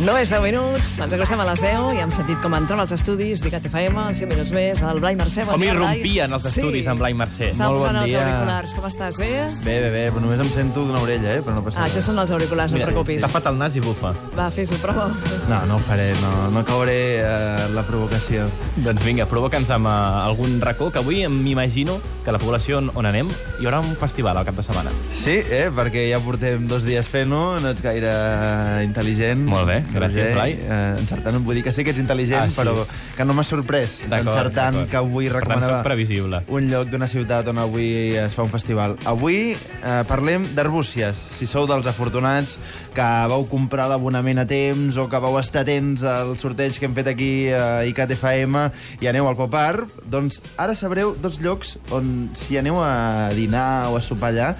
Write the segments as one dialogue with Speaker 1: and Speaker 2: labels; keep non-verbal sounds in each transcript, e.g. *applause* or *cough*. Speaker 1: Només 10 minuts, ens acostem a les 10 i hem sentit com entrava als estudis d'ICAT FM, 5 minuts més, el Blai Mercè. Bon
Speaker 2: Com
Speaker 1: dia, Blai.
Speaker 2: irrompien els estudis amb Blai Mercè.
Speaker 1: Estàvem
Speaker 3: Molt bon
Speaker 1: posant
Speaker 3: dia.
Speaker 1: els auriculars. Com estàs? Bé?
Speaker 3: Bé, bé, bé, però només em sento d'una orella, eh? Però no passa
Speaker 1: Ah,
Speaker 3: res.
Speaker 1: això són els auriculars, no et
Speaker 3: Mira,
Speaker 1: preocupis.
Speaker 2: Tapa't el nas i bufa.
Speaker 1: Va, fes-ho, prova.
Speaker 3: No, no ho faré, no, no cauré eh, la provocació.
Speaker 2: Doncs vinga, provoca'ns amb eh, algun racó, que avui m'imagino que a la població on- on anem hi haurà un festival al cap de setmana.
Speaker 3: Sí, eh? Perquè ja portem dos dies fent-ho, no ets gaire eh, intel·ligent.
Speaker 2: Molt bé, gràcies,
Speaker 3: Roger.
Speaker 2: Blai.
Speaker 3: Eh, encertant, em vull dir que sí que ets intel·ligent,
Speaker 2: Ah,
Speaker 3: ah,
Speaker 2: sí.
Speaker 3: sí. però que no m'ha sorprès
Speaker 2: D'acord,
Speaker 3: encertant
Speaker 2: d'acord.
Speaker 3: que avui
Speaker 2: Per tant,
Speaker 3: recomanava
Speaker 2: sóc previsible.
Speaker 3: un lloc d'una ciutat on avui es fa un festival. Avui eh, parlem d'Arbúcies. Si sou dels afortunats que vau comprar l'abonament a temps o que vau estar atents al sorteig que hem fet aquí a ICAT FM i aneu al Pop Art, doncs ara sabreu dos llocs on si aneu a dinar o a sopar allà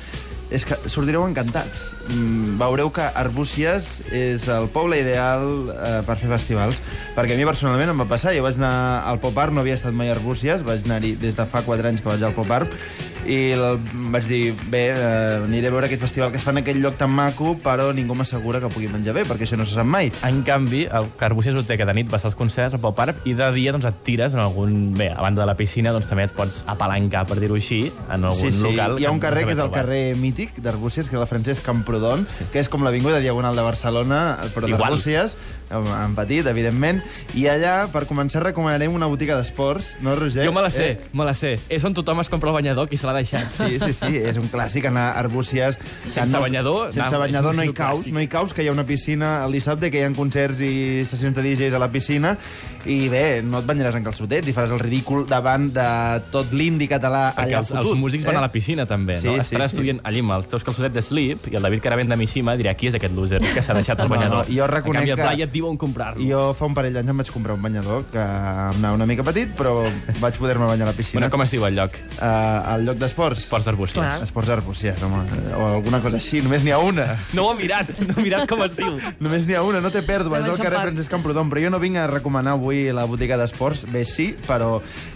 Speaker 3: és que sortireu encantats. Mm, veureu que Arbúcies és el poble ideal eh, per fer festivals, perquè a mi personalment em va passar. Jo vaig anar al Pop Art, no havia estat mai a Arbúcies, vaig anar-hi des de fa 4 anys que vaig al Pop Art, i el, vaig dir, bé, eh, aniré a veure aquest festival que es fa en aquell lloc tan maco, però ningú m'assegura que pugui menjar bé, perquè això no se sap mai.
Speaker 2: En canvi, el Carbuixers ho té, que de nit vas als concerts, al pop-up, i de dia doncs, et tires en algun... Bé, a banda de la piscina, doncs també et pots apalancar, per dir-ho així, en algun local.
Speaker 3: Hi ha un
Speaker 2: no
Speaker 3: carrer que és el
Speaker 2: sabem trobar.
Speaker 3: carrer mític d'Arbúcies, que és la Francesc Camprodon, sí. que és com l'Avinguda Diagonal de Barcelona, però
Speaker 2: Igual.
Speaker 3: d'Arbúcies, en en petit, evidentment. I allà, per començar, recomanarem una botiga d'esports, no, Roger?
Speaker 2: Jo me la sé,
Speaker 3: Eh,
Speaker 2: me la sé. És on tothom es compra el banyador, qui se l'ha deixat.
Speaker 3: Sí, sí, sí, és un clàssic anar a Arbúcies.
Speaker 2: Sense banyador,
Speaker 3: Sense
Speaker 2: no,
Speaker 3: banyador
Speaker 2: és
Speaker 3: no hi
Speaker 2: un
Speaker 3: caus,
Speaker 2: clàssic.
Speaker 3: no hi caus, que hi ha una piscina el dissabte, que hi ha concerts i sessions de DJs a la piscina, i bé, no et banyaràs en calçotets i faràs el ridícul davant de tot l'indi català
Speaker 2: Perquè
Speaker 3: allà
Speaker 2: els, els músics
Speaker 3: eh?
Speaker 2: van a la piscina, també,
Speaker 3: Sí,
Speaker 2: no?
Speaker 3: sí,
Speaker 2: Estaràs
Speaker 3: sí.
Speaker 2: tu dient allà amb els teus calçotets de slip i el David Caravent de Mishima dirà qui és aquest loser que s'ha deixat el
Speaker 3: *laughs* No,
Speaker 2: banyador.
Speaker 3: no, jo reconec
Speaker 2: en canvi, el
Speaker 3: que-
Speaker 2: Blai et diu on comprar-lo. Jo...
Speaker 3: Jo fa un parell d'anys em vaig comprar un banyador que em anava una mica petit, però vaig poder-me banyar a la piscina.
Speaker 2: Bueno, com es diu el lloc?
Speaker 3: Eh, al lloc d'esports.
Speaker 2: Esports d'arbúcies.
Speaker 1: Clar.
Speaker 3: Esports arbúcies, home. O alguna cosa així. Només n'hi ha una.
Speaker 2: No ho he mirat, no he mirat com es
Speaker 3: *laughs*
Speaker 2: diu.
Speaker 3: Només n'hi ha una, no té pèrdua.
Speaker 1: Hem
Speaker 3: És el carrer
Speaker 1: enxampat.
Speaker 3: Francesc Camprodon. Però jo no vinc a recomanar avui la botiga d'esports. Bé, sí, però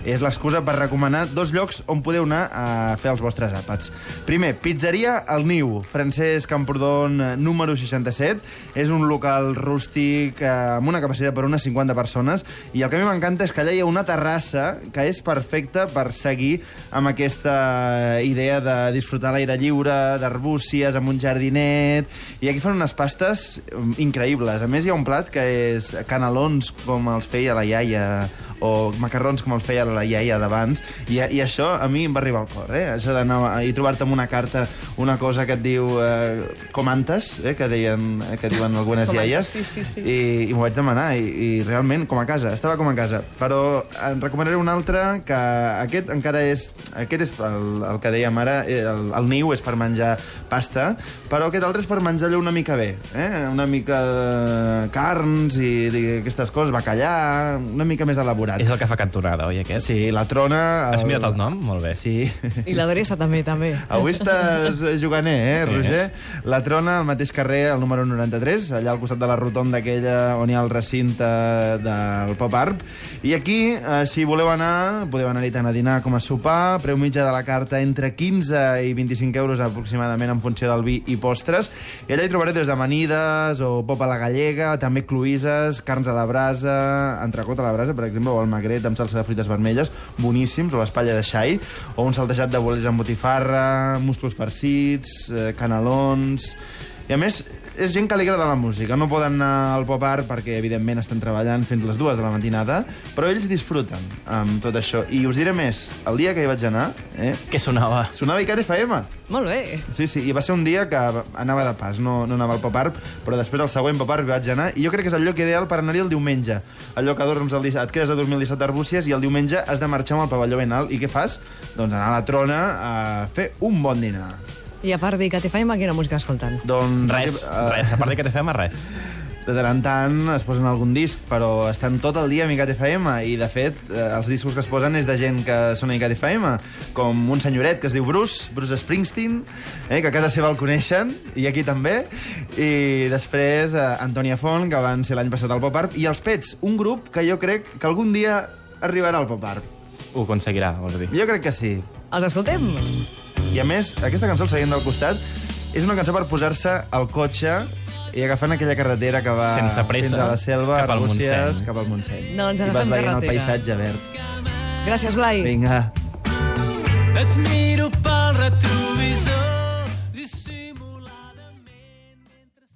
Speaker 3: és l'excusa per recomanar dos llocs on podeu anar a fer els vostres àpats. Primer, pizzeria El Niu, Francesc Camprodon, eh, número 67. És un local rústic eh, amb una capacitat per unes 50 persones. I el que a mi m'encanta és que allà hi ha una terrassa que és perfecta per seguir amb aquesta eh, idea de disfrutar a l'aire lliure, d'arbúcies, amb un jardinet... I aquí fan unes pastes mm, increïbles. A més, hi ha un plat que és canelons com els feia la iaia o macarrons com els feia la iaia d'abans. I, I això a mi em va arribar al cor, eh? Això d'anar a- i trobar-te amb una carta una cosa que et diu eh, comantes, eh? que, deien, que diuen algunes
Speaker 1: Comantes,
Speaker 3: iaies.
Speaker 1: sí, sí, sí.
Speaker 3: I, i m'ho vaig demanar i, i realment com a casa, estava com a casa però en recomanaré un altre que aquest encara és aquest és el, el que dèiem ara eh, el, el niu és per menjar pasta però aquest altre és per menjar allò una mica bé eh? una mica de carns i, i aquestes coses, bacallà una mica més elaborat
Speaker 2: És el que fa cantonada, oi, aquest?
Speaker 3: sí, la trona
Speaker 2: Has mirat el nom? Molt bé.
Speaker 3: sí *laughs*
Speaker 1: I l'adreça també, també.
Speaker 2: Ah.
Speaker 3: Avui estàs juganer, eh,
Speaker 2: Sí.
Speaker 3: Roger? La Trona, al mateix carrer, al número 93, allà al costat de la rotonda aquella on hi ha el recinte del Pop Art. I aquí, eh, si voleu anar, podeu anar-hi tant a dinar com a sopar, preu mitjà de la carta entre 15 i 25 euros aproximadament en funció del vi i postres. I allà hi trobareu des d'amanides o pop a la gallega, també cloïsses, carns a la brasa, eh, entrecot a la brasa, per exemple, o el magret amb salsa de fruites vermelles, boníssims, o l'espatlla de xai, o un saltejat de bolets amb botifarra, musclos farcits, eh, canelons... I a més, és gent que li agrada la música. No poden anar al pop art perquè, evidentment, estan treballant fins les dues de la matinada, però ells disfruten amb tot això. I us diré més, el dia que hi vaig anar, eh,
Speaker 2: Què sonava?
Speaker 3: sonava ICAT FM.
Speaker 1: Molt bé.
Speaker 3: Sí, sí, i va ser un dia que anava de pas, no, no anava al pop art, però després al següent pop art hi vaig anar, i jo crec que és el lloc ideal per anar-hi el diumenge. El lloc que dorms el dissabte, et quedes a dormir el dissabte a Arbúcies i el diumenge has de marxar amb el pavelló ben alt. I què fas? Doncs anar a la trona a fer un bon dinar.
Speaker 1: I a part d'ICAT FM, quina música escoltant?
Speaker 3: Doncs,
Speaker 2: Res,
Speaker 3: eh,
Speaker 2: res. A part de que te fem, res.
Speaker 3: De tant en tant es posen algun disc, però estan tot el dia a Micat FM, i de fet eh, els discos que es posen és de gent que són a Micat FM, com un senyoret que es diu Bruce, Bruce Springsteen, eh, que a casa seva el coneixen, i aquí també, i després eh, Antònia Font, que van ser l'any passat al Pop Art, i els Pets, un grup que jo crec que algun dia arribarà al Pop Art.
Speaker 2: Ho aconseguirà, vols dir.
Speaker 3: Jo crec que sí.
Speaker 1: Els escoltem?
Speaker 3: I a més, aquesta cançó, el seient del costat, és una cançó per posar-se al cotxe i agafant aquella carretera que va
Speaker 2: Sense pressa, eh?
Speaker 3: fins a la selva,
Speaker 2: cap al
Speaker 3: Arbúcies,
Speaker 2: Montseny.
Speaker 3: cap al Montseny.
Speaker 1: Doncs
Speaker 3: I
Speaker 1: agafem
Speaker 3: vas veient el
Speaker 1: carretera.
Speaker 3: paisatge verd.
Speaker 1: Gràcies, Blai.
Speaker 3: Vinga.
Speaker 4: Let me